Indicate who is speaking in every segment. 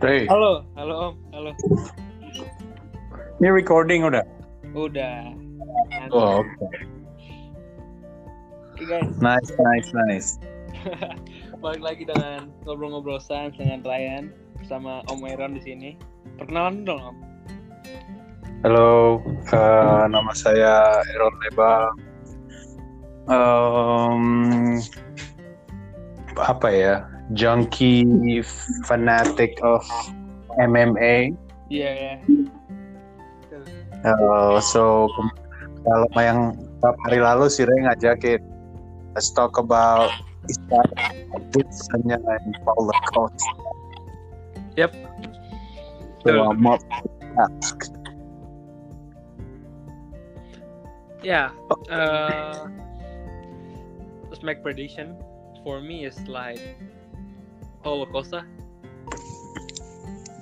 Speaker 1: Hey,
Speaker 2: Halo, halo Om, halo.
Speaker 3: Ini recording udah.
Speaker 2: Udah. Mantap.
Speaker 1: oh, oke.
Speaker 2: Oke, guys,
Speaker 3: Nice, nice, nice.
Speaker 2: balik lagi dengan ngobrol-ngobrol sans dengan Ryan bersama Om Aaron di sini. Perkenalan dulu dong Om.
Speaker 3: Halo, eh, nama saya Eron Lebang. Em, apa ya? Junkie fanatic of MMA.
Speaker 2: Iya ya.
Speaker 3: Eh, so kem- kalau yang hari lalu sih Ray ngajakin let's talk about Isaac Adesanya and Paula Costa.
Speaker 2: Yep.
Speaker 3: So I'm up.
Speaker 2: Yeah. Uh, just make prediction for me is like Paulo Costa.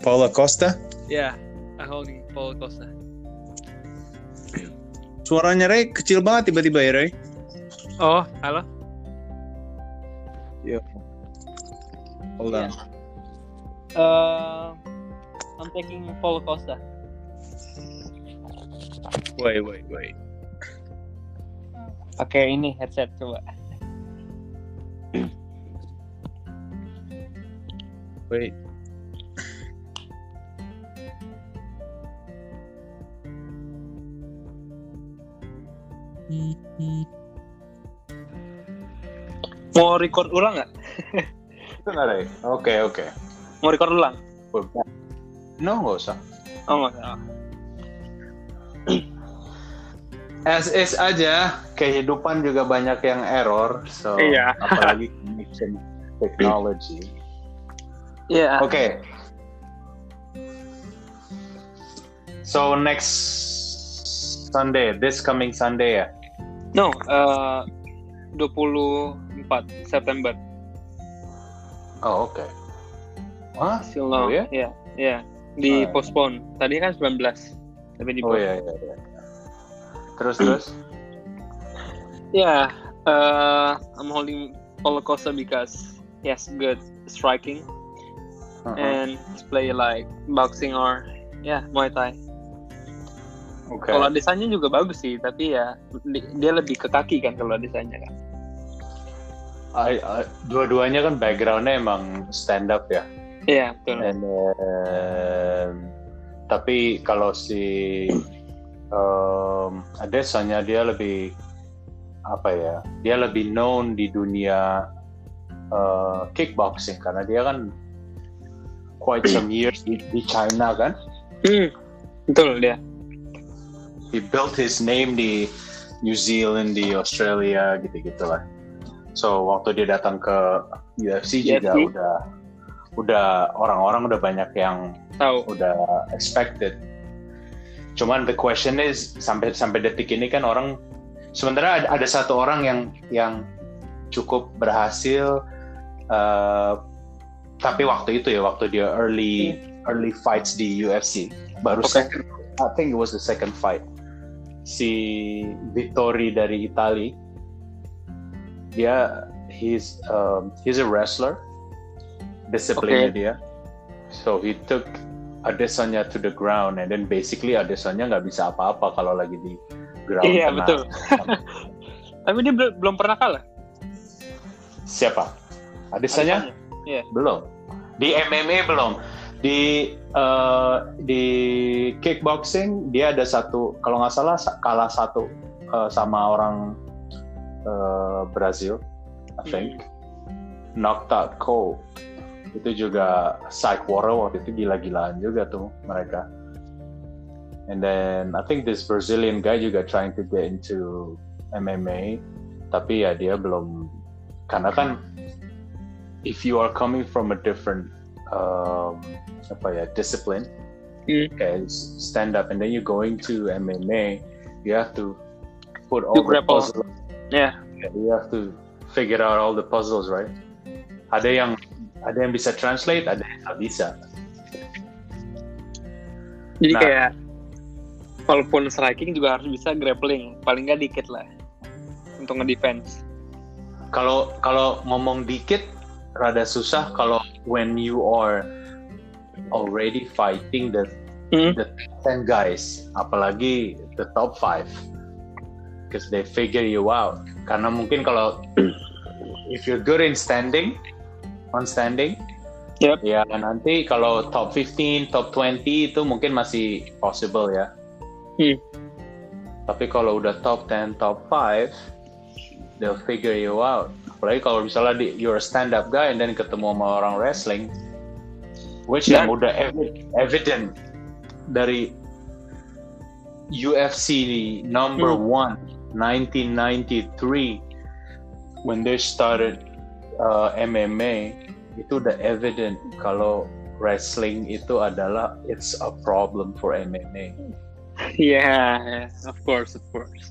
Speaker 3: Paula Costa.
Speaker 2: Yeah, Ya, I holding Paulo Costa.
Speaker 3: Suaranya Ray kecil banget tiba-tiba ya Ray.
Speaker 2: Oh, halo.
Speaker 1: Iya.
Speaker 3: Hold
Speaker 2: on. Uh, I'm taking Paulo Costa.
Speaker 3: Wait, wait, wait.
Speaker 2: Oke, ini headset coba.
Speaker 3: Wait.
Speaker 2: Mau record ulang nggak?
Speaker 1: Itu nggak, Ray? Oke, oke.
Speaker 2: Mau record ulang?
Speaker 1: No, nggak usah.
Speaker 2: Oh, nggak usah.
Speaker 1: As is aja. Kehidupan juga banyak yang error. So,
Speaker 2: Iya.
Speaker 1: apalagi connection technology.
Speaker 2: Iya.
Speaker 1: Oke. So, next Sunday, this coming Sunday ya?
Speaker 2: No, eh 24 September.
Speaker 1: Oh, oke. Hah?
Speaker 2: Still no.
Speaker 1: Oh, ya?
Speaker 2: Iya, iya. Di
Speaker 1: Ah.
Speaker 2: postpone. Tadi kan 19. Tapi di
Speaker 1: Oh, iya, iya, iya. Terus, terus?
Speaker 2: Yeah, uh, Ya, I'm holding Paulo Costa because he has good striking
Speaker 1: Uh-huh.
Speaker 2: and he's play like boxing or yeah Muay Thai.
Speaker 1: Oke.
Speaker 2: Kalau desainnya juga bagus sih, tapi ya di- dia lebih ke kaki kan kalau desainnya kan.
Speaker 1: I- I- Dua-duanya kan backgroundnya emang stand up ya?
Speaker 2: Iya, betul.
Speaker 1: And, um, tapi kalau si um, Adesanya dia lebih apa ya? Dia lebih known di dunia uh, kickboxing karena dia kan quite some years di, di China kan.
Speaker 2: Hmm, betul dia.
Speaker 1: He built his name di New Zealand, di Australia gitu-gitu lah. So waktu dia datang ke UFC juga
Speaker 2: UFC.
Speaker 1: udah udah orang-orang udah banyak yang
Speaker 2: Tahu.
Speaker 1: udah expected. Cuman the question is sampai sampai detik ini kan orang sebenarnya ada, ada satu orang yang yang cukup berhasil eh, tapi waktu itu ya waktu dia early early fights di UFC baru
Speaker 2: Oke.
Speaker 1: second I think it was the second fight si Vittori dari Itali dia he's um, he's a wrestler disiplinnya dia so he took Adesanya to the ground and then basically Adesanya nggak bisa apa-apa kalau lagi di ground
Speaker 2: Iya,
Speaker 1: Kena-
Speaker 2: betul. Tapi dia bel- belum pernah kalah.
Speaker 1: siapa Adesanya belum di MMA belum di eh, di kickboxing dia ada satu kalau nggak salah sa- kalah satu eh, sama orang eh, Brazil I think knocked out cold itu juga psych war waktu itu gila-gilaan juga tuh mereka and then I think this Brazilian guy juga trying to get into MMA tapi ya dia belum karena kan if you are coming from a different um, apa ya discipline
Speaker 2: Hmm.
Speaker 1: kayak stand up and then you going to MMA you have to put all
Speaker 2: You
Speaker 1: the
Speaker 2: grapple.
Speaker 1: puzzles
Speaker 2: Yeah.
Speaker 1: you have to figure out all the puzzles right ada yang ada yang bisa translate ada yang nggak bisa
Speaker 2: Jadi
Speaker 1: Nah.
Speaker 2: kayak walaupun striking juga harus bisa grappling, paling nggak dikit lah untuk ngedefense.
Speaker 1: kalau kalau ngomong dikit rada susah kalau when you are already fighting the
Speaker 2: Hmm.
Speaker 1: the 10 guys, apalagi the top 5. Because they figure you out. Karena mungkin kalau if you're good in standing, on standing,
Speaker 2: Yep.
Speaker 1: ya nanti kalau top 15, top 20 itu mungkin masih possible ya.
Speaker 2: Hmm.
Speaker 1: Tapi kalau udah top 10, top 5, they'll figure you out. Apalagi kalau misalnya di, you're a stand up guy and then ketemu sama orang wrestling, which yang udah evi- evident dari UFC number one 1993 when they started uh, MMA itu udah evident kalau wrestling itu adalah it's a problem for MMA.
Speaker 2: Yeah, Iya, of course, of course.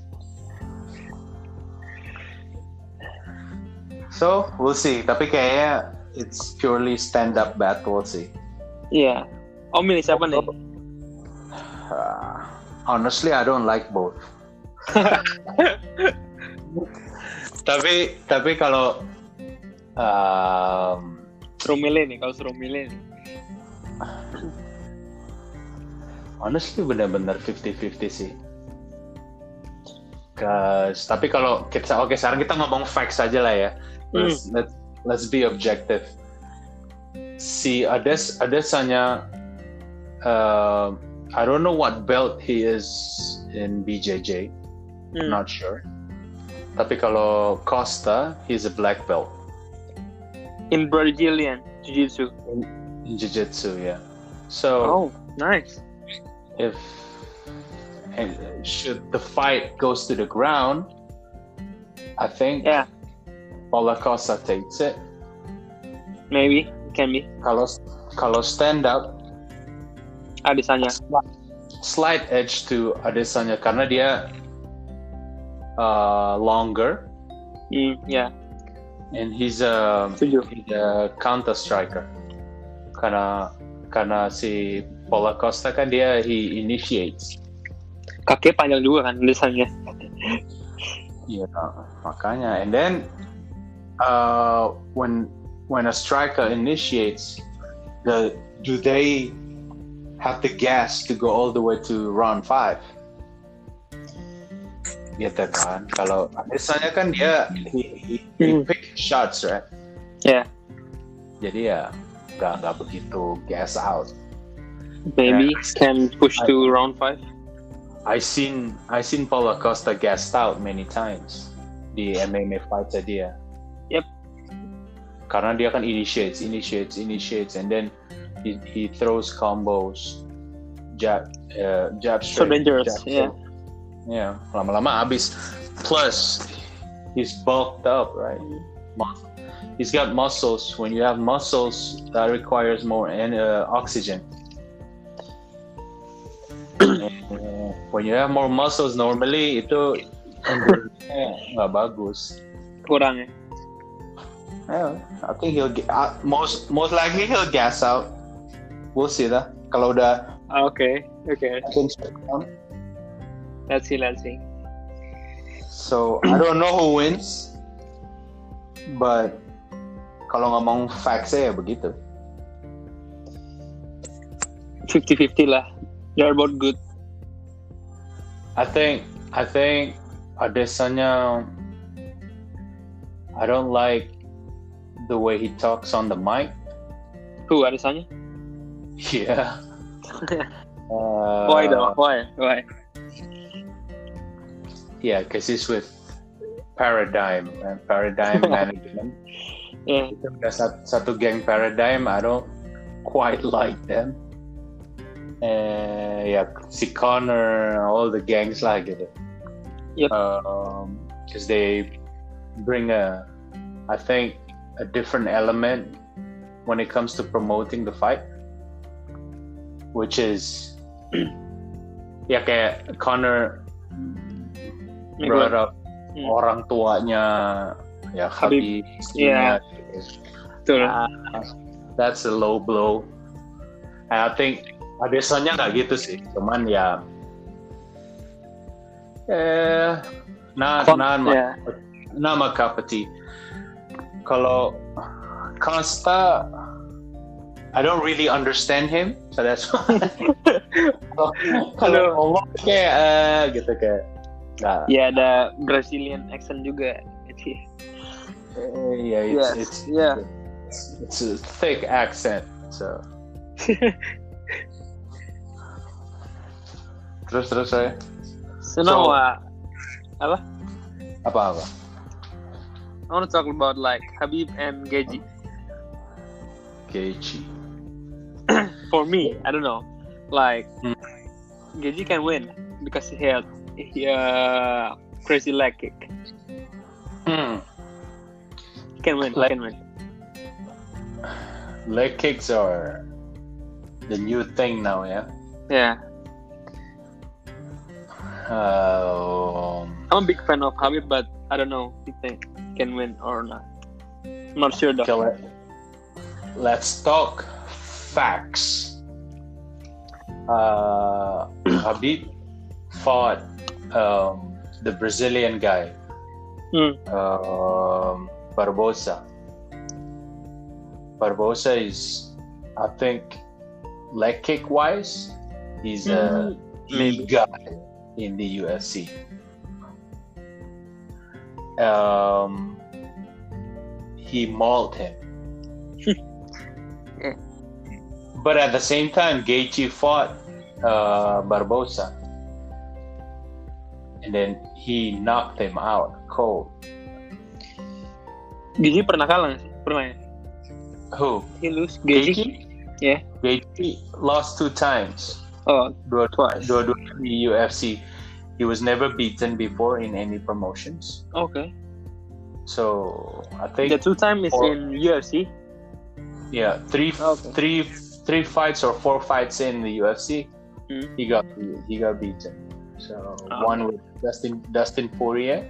Speaker 1: So we'll see. Tapi kayaknya it's purely stand up battle sih.
Speaker 2: Iya. Oh, Om milih siapa nih?
Speaker 1: Uh, honestly, I don't like both. tapi tapi kalau um,
Speaker 2: Suruh milih nih, kalau suruh milih nih.
Speaker 1: honestly benar-benar 50-50 sih. Cause, tapi kalau kita oke sekarang kita ngomong facts aja lah ya. Let's let's, let's be objective. Si Ades Adesanya uh, I don't know what belt he is in BJJ.
Speaker 2: Hmm.
Speaker 1: Not sure. Tapi kalau Costa, he's a black belt
Speaker 2: In Brazilian Jiu-Jitsu.
Speaker 1: in jiu-jitsu, yeah. So
Speaker 2: Oh, nice.
Speaker 1: if and should the fight goes to the ground, I think
Speaker 2: Yeah.
Speaker 1: Paula Costa takes it.
Speaker 2: Maybe, can be.
Speaker 1: Kalau kalau stand up,
Speaker 2: Adesanya.
Speaker 1: slight edge to Adesanya karena dia uh, longer
Speaker 2: Hmm, ya,
Speaker 1: and he's a
Speaker 2: setuju.
Speaker 1: he's a counter striker. Karena karena si Paula Costa kan dia he initiates.
Speaker 2: Kakek panjang juga kan Adesanya.
Speaker 1: Iya, makanya. And then uh, when when a striker initiates, the do they have the gas to go all the way to round five? Gitu kan. Kalau misalnya kan dia he, he, he
Speaker 2: Hmm.
Speaker 1: pick shots, right?
Speaker 2: Yeah.
Speaker 1: Jadi ya nggak nggak begitu gas out.
Speaker 2: Maybe can push to round five.
Speaker 1: I seen I seen Paulo Costa gassed out many times di MMA fight dia.
Speaker 2: Yep.
Speaker 1: Karena dia kan initiates, initiates, initiates, and then he, he throws combos, jab, uh, jab
Speaker 2: So
Speaker 1: straight.
Speaker 2: dangerous.
Speaker 1: jab
Speaker 2: Yeah.
Speaker 1: straight. Yeah, lama-lama habis. Plus, he's bulked up, right? Mus- He's got muscles. When you have muscles, that requires more and uh, oxygen. And when you have more muscles, normally itu endurance-nya nggak bagus.
Speaker 2: Kurang ya.
Speaker 1: Yeah, I think he'll get, uh, most most likely he'll gas out. We'll see lah. Kalau udah
Speaker 2: Ah, Oke, oke. Let's see, let's see.
Speaker 1: So I don't know who wins, but kalau ngomong facts ya begitu.
Speaker 2: 50-50 lah. They're both good.
Speaker 1: I think I think Adesanya. I don't like the way he talks on the mic.
Speaker 2: Who Adesanya?
Speaker 1: Yeah. Uh,
Speaker 2: Why though? Why? Why?
Speaker 1: Yeah, because he's with Paradigm and Paradigm Management.
Speaker 2: Yeah.
Speaker 1: Ada sat- satu geng Paradigm, I don't quite like them. Eh, ya si Connor, all the gangs lah gitu.
Speaker 2: Yep.
Speaker 1: Um, Cause they bring a, I think, a different element when it comes to promoting the fight, which is, ya kayak Connor brought up
Speaker 2: Hmm.
Speaker 1: orang tuanya ya Habib
Speaker 2: Habib.
Speaker 1: istrinya.
Speaker 2: Betul.
Speaker 1: that's a low blow and I think Adesanya nggak gitu sih cuman ya eh nah nah ma-
Speaker 2: Yeah.
Speaker 1: nama Kapati. Kalau Costa I don't really understand him, so that's why. Kalau ngomong kayak eh, gitu kayak. Nah,
Speaker 2: Ya ada Brazilian accent juga. Jadi,
Speaker 1: eh, yeah, it's,
Speaker 2: Yes,
Speaker 1: it's,
Speaker 2: yeah.
Speaker 1: it's a thick accent. So. terus terus saya
Speaker 2: So now
Speaker 1: So-
Speaker 2: uh,
Speaker 1: apa apa?
Speaker 2: I want to talk about like Habib and Geji.
Speaker 1: Keiichi.
Speaker 2: For me, I don't know. Like
Speaker 3: Hmm.
Speaker 2: Geji can win because he had he, uh, crazy leg kick.
Speaker 1: Hmm.
Speaker 2: He can win.
Speaker 1: Leg-
Speaker 2: he can win.
Speaker 1: Leg kicks are the new thing now, yeah.
Speaker 2: Yeah,
Speaker 1: Um,
Speaker 2: I'm a big fan of Habib, but I don't know if he can win or not. I'm not sure though.
Speaker 1: okay, let- let's talk facts. Uh, Habib fought um, the Brazilian guy,
Speaker 2: Hmm.
Speaker 1: um, Barbosa. Barbosa is, I think, leg kick wise, he's a
Speaker 2: Maybe.
Speaker 1: the guy in the UFC. Um, he mauled him.
Speaker 2: Yeah.
Speaker 1: but at the same time, Gaethje fought uh, Barbosa, and then he knocked him out cold.
Speaker 2: Geji pernah kalah nggak sih? Pernah ya?
Speaker 1: Who?
Speaker 2: He lose. Geji?
Speaker 1: Gaethje.
Speaker 2: Yeah.
Speaker 1: Gaethje lost two times.
Speaker 2: Oh,
Speaker 1: Dua-
Speaker 2: Twice.
Speaker 1: dua- dua di UFC. He was never beaten before in any promotions.
Speaker 2: okay.
Speaker 1: So I think
Speaker 2: The two time is
Speaker 1: Or-
Speaker 2: in UFC.
Speaker 1: Yeah, three,
Speaker 2: Okay.
Speaker 1: three- three fights or four fights in the UFC,
Speaker 2: Hmm.
Speaker 1: he got he got beaten. So
Speaker 2: Ah.
Speaker 1: one with Dustin Dustin Poirier,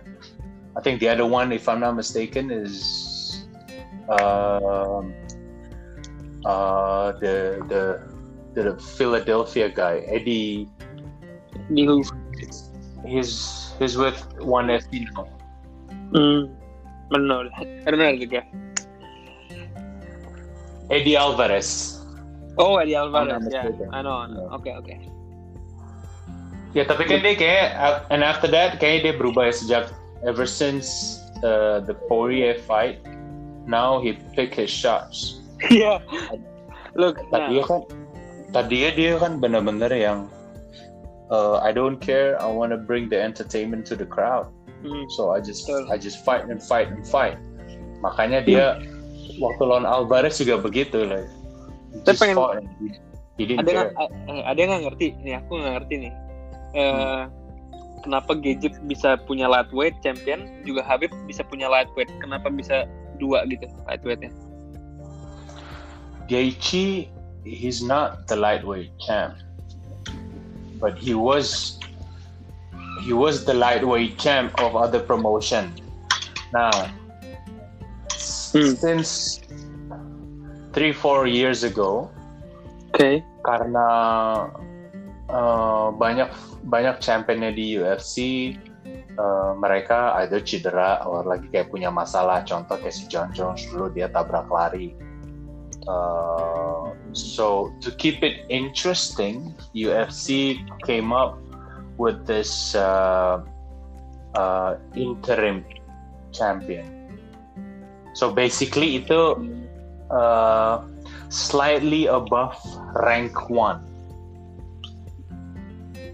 Speaker 1: I think the other one, if I'm not mistaken, is um, uh, the the the Philadelphia guy Eddie.
Speaker 2: Di who?
Speaker 1: He's he's with one FC now.
Speaker 2: Hmm. I don't know. I don't know the guy.
Speaker 1: Eddie Alvarez.
Speaker 2: Oh, Eddie Alvarez.
Speaker 1: not
Speaker 2: Yeah,
Speaker 1: mistaken.
Speaker 2: I know. I know.
Speaker 1: Yeah.
Speaker 2: Okay, okay.
Speaker 1: Ya tapi kan dia kayak and after that kayak dia berubah ya sejak ever since uh, the Poirier fight. Now he pick his shots.
Speaker 2: yeah. Look.
Speaker 1: Tadi
Speaker 2: Nah,
Speaker 1: kan tadi dia kan bener-bener yang uh, I don't care. I want to bring the entertainment to the crowd.
Speaker 2: hmm.
Speaker 1: So I just
Speaker 2: Betul.
Speaker 1: I just fight and fight and fight. Makanya dia waktu lawan Alvarez juga begitu like. he
Speaker 2: Dia
Speaker 1: just
Speaker 2: Hmm. pengen-
Speaker 1: fought and he- he didn't
Speaker 2: ada nggak
Speaker 1: care.
Speaker 2: a- eh, ada nggak ngerti nih aku nggak ngerti nih Eh, kenapa Gadget bisa punya lightweight champion juga Habib bisa punya lightweight kenapa bisa dua gitu lightweightnya
Speaker 1: Gaethje, he's not the lightweight champ, but he was he was the lightweight champ of other promotion. Now, s-
Speaker 2: Hmm.
Speaker 1: since three four years ago,
Speaker 2: oke okay.
Speaker 1: karena uh, banyak banyak championnya di UFC uh, mereka either cedera or lagi kayak punya masalah contoh kayak si John Jones dulu dia tabrak lari Uh, so to keep it interesting UFC came up with this uh, uh, interim champion so basically itu uh, slightly above rank one.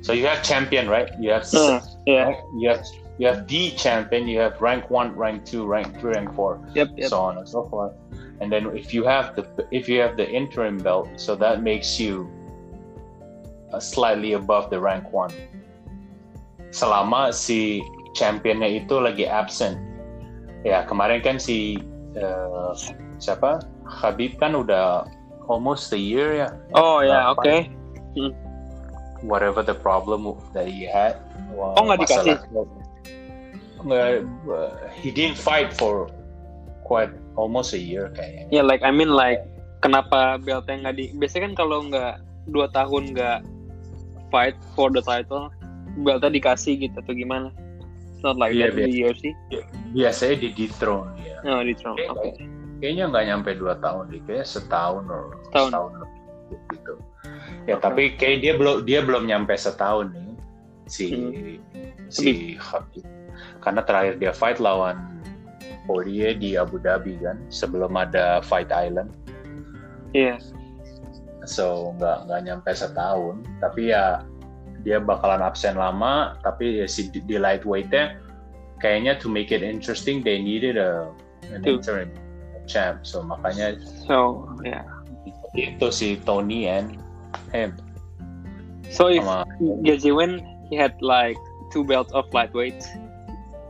Speaker 1: So you have champion, right? You have
Speaker 2: Hmm, yeah.
Speaker 1: you have you have the champion. You have rank one, rank two, rank three, rank four,
Speaker 2: yep, yep.
Speaker 1: so on and so forth. And then if you have the if you have the interim belt, so that makes you uh, slightly above the rank one. Selama si championnya itu lagi absent. Ya kemarin kan si eh, siapa Habib kan udah almost a year ya
Speaker 2: oh ya oke
Speaker 1: whatever the problem that he had.
Speaker 2: Oh, nggak dikasih?
Speaker 1: Nggak, uh, he didn't fight for quite almost a year kayaknya.
Speaker 2: ya like I mean like kenapa beltnya nggak di biasanya kan kalau nggak dua tahun nggak fight for the title beltnya dikasih gitu atau gimana it's not like
Speaker 1: Iya,
Speaker 2: that in the UFC
Speaker 1: Biasanya di dethrone ya.
Speaker 2: no di Trump oke
Speaker 1: Kayak- kayaknya nggak nyampe dua tahun deh, kayaknya setahun or
Speaker 2: Setahun.
Speaker 1: lebih gitu. Ya tapi kayak dia belum dia belum nyampe setahun nih si
Speaker 2: Hmm.
Speaker 1: si Khabib. Karena terakhir dia fight lawan Poirier di Abu Dhabi kan, sebelum ada Fight Island.
Speaker 2: Iya.
Speaker 1: so nggak nggak nyampe setahun tapi ya dia bakalan absen lama tapi ya si di, di lightweight-nya kayaknya to make it interesting they needed a an
Speaker 2: Tuh.
Speaker 1: interim champ so makanya
Speaker 2: So, ya.
Speaker 1: itu si Tony and him
Speaker 2: So if
Speaker 1: sama
Speaker 2: Gaethje win, he had like two belts of lightweights.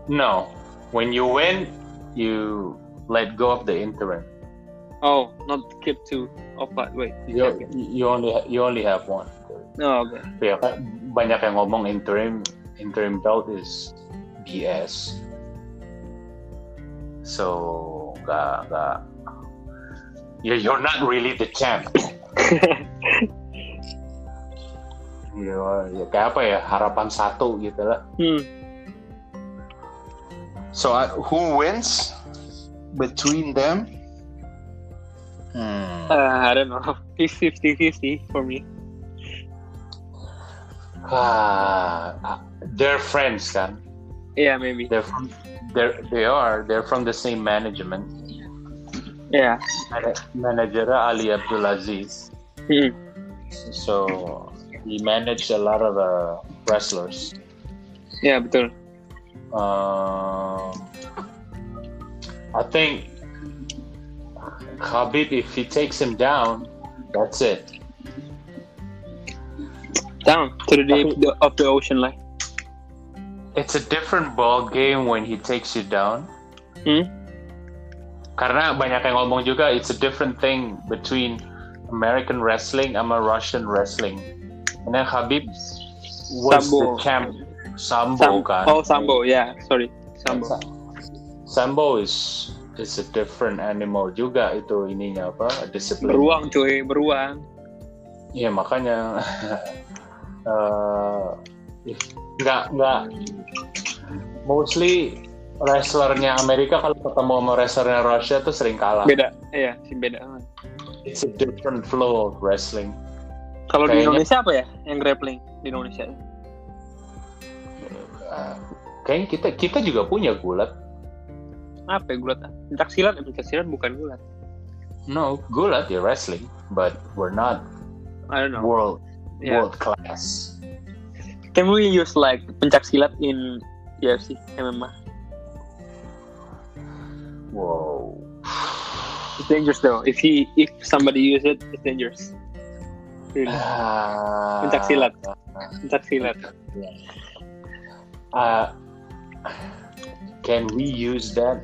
Speaker 1: no when you win you let go of the interim
Speaker 2: Oh, not keep two of lightweight.
Speaker 1: you you only you only have one
Speaker 2: Oh, okay.
Speaker 1: ya kan, eh, banyak yang ngomong interim interim belt is BS so nggak nggak you you're not really the champ you are, ya kayak apa ya harapan satu gitu lah
Speaker 2: Hmm.
Speaker 1: So uh, who wins between them? Hmm.
Speaker 2: Uh, I don't know. It's 50-50 for me.
Speaker 1: Ah, they're friends kan?
Speaker 2: Yeah, maybe.
Speaker 1: They're from, they're, they are they're from the same management.
Speaker 2: Yeah.
Speaker 1: managernya Ali Abdul Aziz.
Speaker 2: Hmm.
Speaker 1: So he managed a lot of the wrestlers.
Speaker 2: Yeah, betul.
Speaker 1: Um, I think Khabib, if he takes him down, that's it.
Speaker 2: Down to the deep the, of the ocean like.
Speaker 1: It's a different ball game when he takes you down.
Speaker 2: Hmm.
Speaker 1: Karena banyak yang ngomong juga, it's a different thing between American wrestling sama Russian wrestling. Karena Khabib was
Speaker 2: Sambo.
Speaker 1: the champ Sambo
Speaker 2: Sam-
Speaker 1: kan.
Speaker 2: oh, Sambo. Yeah, sorry. Sambo.
Speaker 1: Sambo. is is a different animal juga itu ininya apa disiplin.
Speaker 2: Beruang cuy, beruang.
Speaker 1: Iya makanya eh, nggak nggak mostly wrestlernya Amerika kalau ketemu sama wrestlernya Rusia tuh sering kalah.
Speaker 2: Beda. Iya, sih beda.
Speaker 1: It's a different flow of wrestling.
Speaker 2: Kalau di
Speaker 1: Kayaknya-
Speaker 2: Indonesia apa ya yang grappling di Indonesia?
Speaker 1: Eh, kayaknya kita kita juga punya gulat.
Speaker 2: Apa ya gulat? Pencak silat, pencak silat bukan gulat.
Speaker 1: No, gulat ya wrestling, but we're not
Speaker 2: I don't know.
Speaker 1: world
Speaker 2: Yeah.
Speaker 1: world class.
Speaker 2: Can we use like pencak silat in UFC MMA?
Speaker 1: Wow.
Speaker 2: It's dangerous though. If he if somebody use it, it's dangerous. Really. Pencak silat.
Speaker 1: Ah.
Speaker 2: Pencak silat.
Speaker 1: Uh, can we use that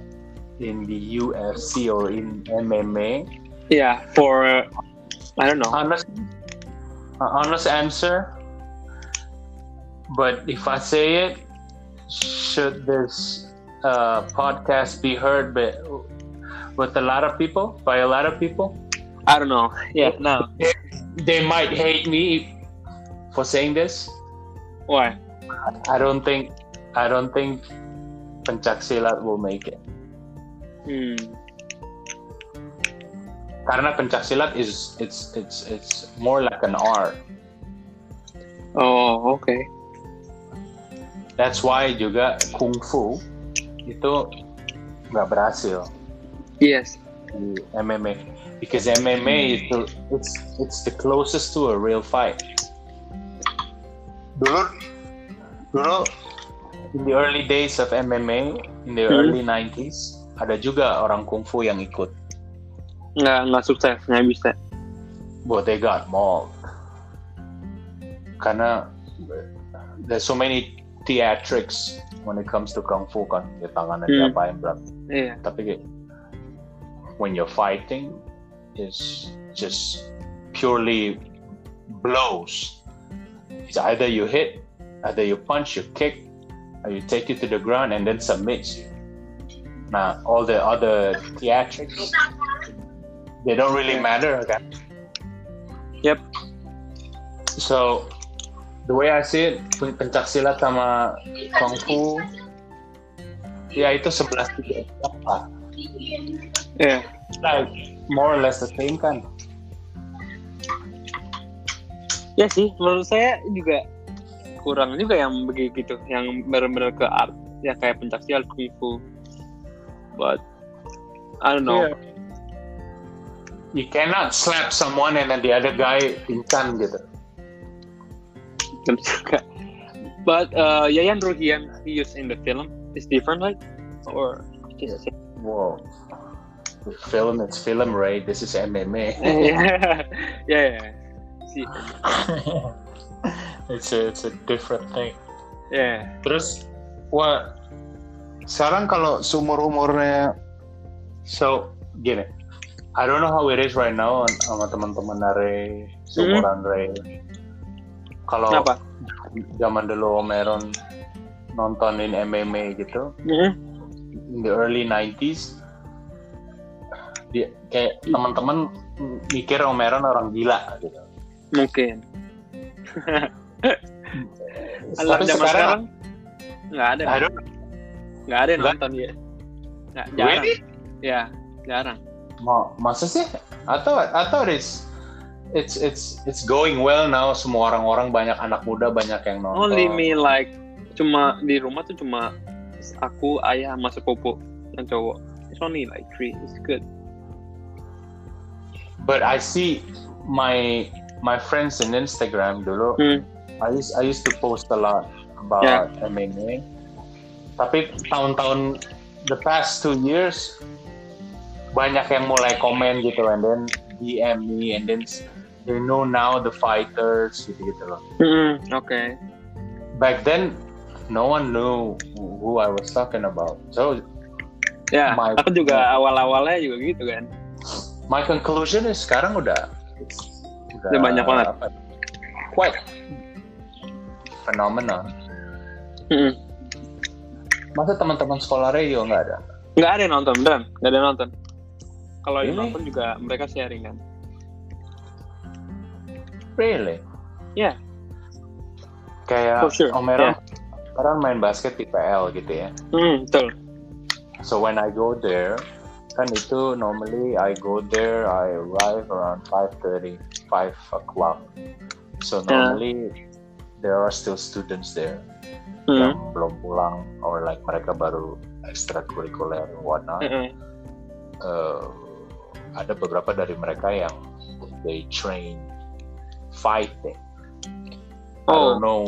Speaker 1: in the UFC or in MMA?
Speaker 2: Yeah, for uh, I don't know.
Speaker 1: Honest, uh, honest answer. But if I say it, should this uh, podcast be heard by, with a lot of people? By a lot of people,
Speaker 2: I don't know. Yeah, no.
Speaker 1: they might hate me for saying this.
Speaker 2: Why?
Speaker 1: I don't think I don't think pencak silat will make it.
Speaker 2: Hmm.
Speaker 1: Karena pencak silat is it's it's it's more like an art.
Speaker 2: Oh, okay.
Speaker 1: That's why juga kungfu itu nggak berhasil
Speaker 2: Yes.
Speaker 1: di MMA because MMA itu it's it's the closest to a real fight. Dulu dulu in the early days of MMA in the
Speaker 2: Hmm.
Speaker 1: early 90s ada juga orang kungfu yang ikut
Speaker 2: Nggak nggak sukses, nggak bisa.
Speaker 1: but they got mauled. Karena there's so many theatrics when it comes to kung fu kan, ya tangannya
Speaker 2: Hmm.
Speaker 1: diapain berat.
Speaker 2: Iya.
Speaker 1: Tapi kayak, when you're fighting is just purely blows. It's either you hit, either you punch, you kick, or you take you to the ground and then submits you. Nah, all the other theatrics, they don't really matter. kan?
Speaker 2: Yep.
Speaker 1: So, the way I see it, pen- pencak silat sama kung fu, ya itu 11 tiga
Speaker 2: Iya.
Speaker 1: like Nah, more or less the same kan?
Speaker 2: Ya sih, menurut saya juga kurang juga yang begitu, gitu. yang benar-benar ke art, ya kayak pencaksilat kungfu. But I don't know.
Speaker 1: Yeah. You cannot slap someone and then the other guy pingsan gitu.
Speaker 2: Bener juga. But uh, Yayan Ruhian he used in the film is different, right? Or just same?
Speaker 1: Wow. The film it's film, right? This is MMA.
Speaker 2: yeah, yeah, yeah. See,
Speaker 1: it's a it's a different thing.
Speaker 2: yeah.
Speaker 1: Terus, wah, sekarang kalau seumur umurnya, so gini, I don't know how it is right now on- sama teman-teman Nare, seumuran Ray. Kalau
Speaker 2: Kenapa?
Speaker 1: zaman dulu Omeron nontonin MMA gitu,
Speaker 2: Mm-hmm.
Speaker 1: in the early 90s, dia, kayak teman-teman mikir Omeron orang gila gitu.
Speaker 2: Mungkin.
Speaker 1: Tapi sekarang,
Speaker 2: nggak ada,
Speaker 1: I don't
Speaker 2: nggak ada yang
Speaker 1: Nggak.
Speaker 2: nonton ya. Nggak, jarang.
Speaker 1: really?
Speaker 2: Ya, jarang.
Speaker 1: Ma- masa sih? I thought I thought it's it's it's it's going well now. Semua orang-orang banyak anak muda banyak yang nonton.
Speaker 2: Only me like cuma di rumah tuh cuma aku, ayah, sama sepupu yang cowok. It's only like three. It's good.
Speaker 1: But I see my my friends in Instagram dulu.
Speaker 2: Hmm.
Speaker 1: I used I used to post a lot about
Speaker 2: Yeah.
Speaker 1: MMA. Tapi tahun-tahun the past two years banyak yang mulai komen gitu and then DM me and then s- they know now the fighters gitu-gitu loh. Hmm.
Speaker 2: Mm-mm, Oke.
Speaker 1: back then no one knew who I was talking about. So
Speaker 2: Ya,
Speaker 1: My-
Speaker 2: aku juga awal-awalnya juga gitu kan.
Speaker 1: my conclusion is sekarang udah udah,
Speaker 2: Udah banyak banget.
Speaker 1: apa, ya? quite fenomena.
Speaker 2: Mm-mm.
Speaker 1: Masa teman-teman sekolah radio nggak ada?
Speaker 2: Nggak ada yang nonton, beneran. Nggak ada yang nonton. Kalau yang
Speaker 1: Really?
Speaker 2: nonton juga mereka sharing kan.
Speaker 1: Really?
Speaker 2: Yeah.
Speaker 1: Kayak
Speaker 2: Ya. For sure, Ya.
Speaker 1: Omeron, Omeron main basket di PL gitu ya.
Speaker 2: Hmm, betul.
Speaker 1: So when I go there, kan itu normally I go there, I arrive around 5.30, 5 o'clock. So
Speaker 2: Yeah.
Speaker 1: normally there are still students there
Speaker 2: Hmm.
Speaker 1: yang belum pulang or like mereka baru extracurricular and whatnot.
Speaker 2: Mm-mm.
Speaker 1: Eh, ada beberapa dari mereka yang they train fighting. I
Speaker 2: Oh.
Speaker 1: don't know.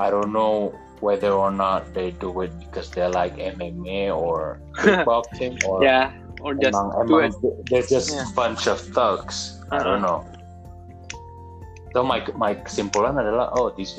Speaker 1: I don't know whether or not they do it because they like MMA or kickboxing or
Speaker 2: Ya, or just
Speaker 1: emang,
Speaker 2: do
Speaker 1: emang
Speaker 2: it.
Speaker 1: there's just
Speaker 2: Yeah. Uh-huh.
Speaker 1: bunch of thugs. I don't know. So my my kesimpulan adalah oh these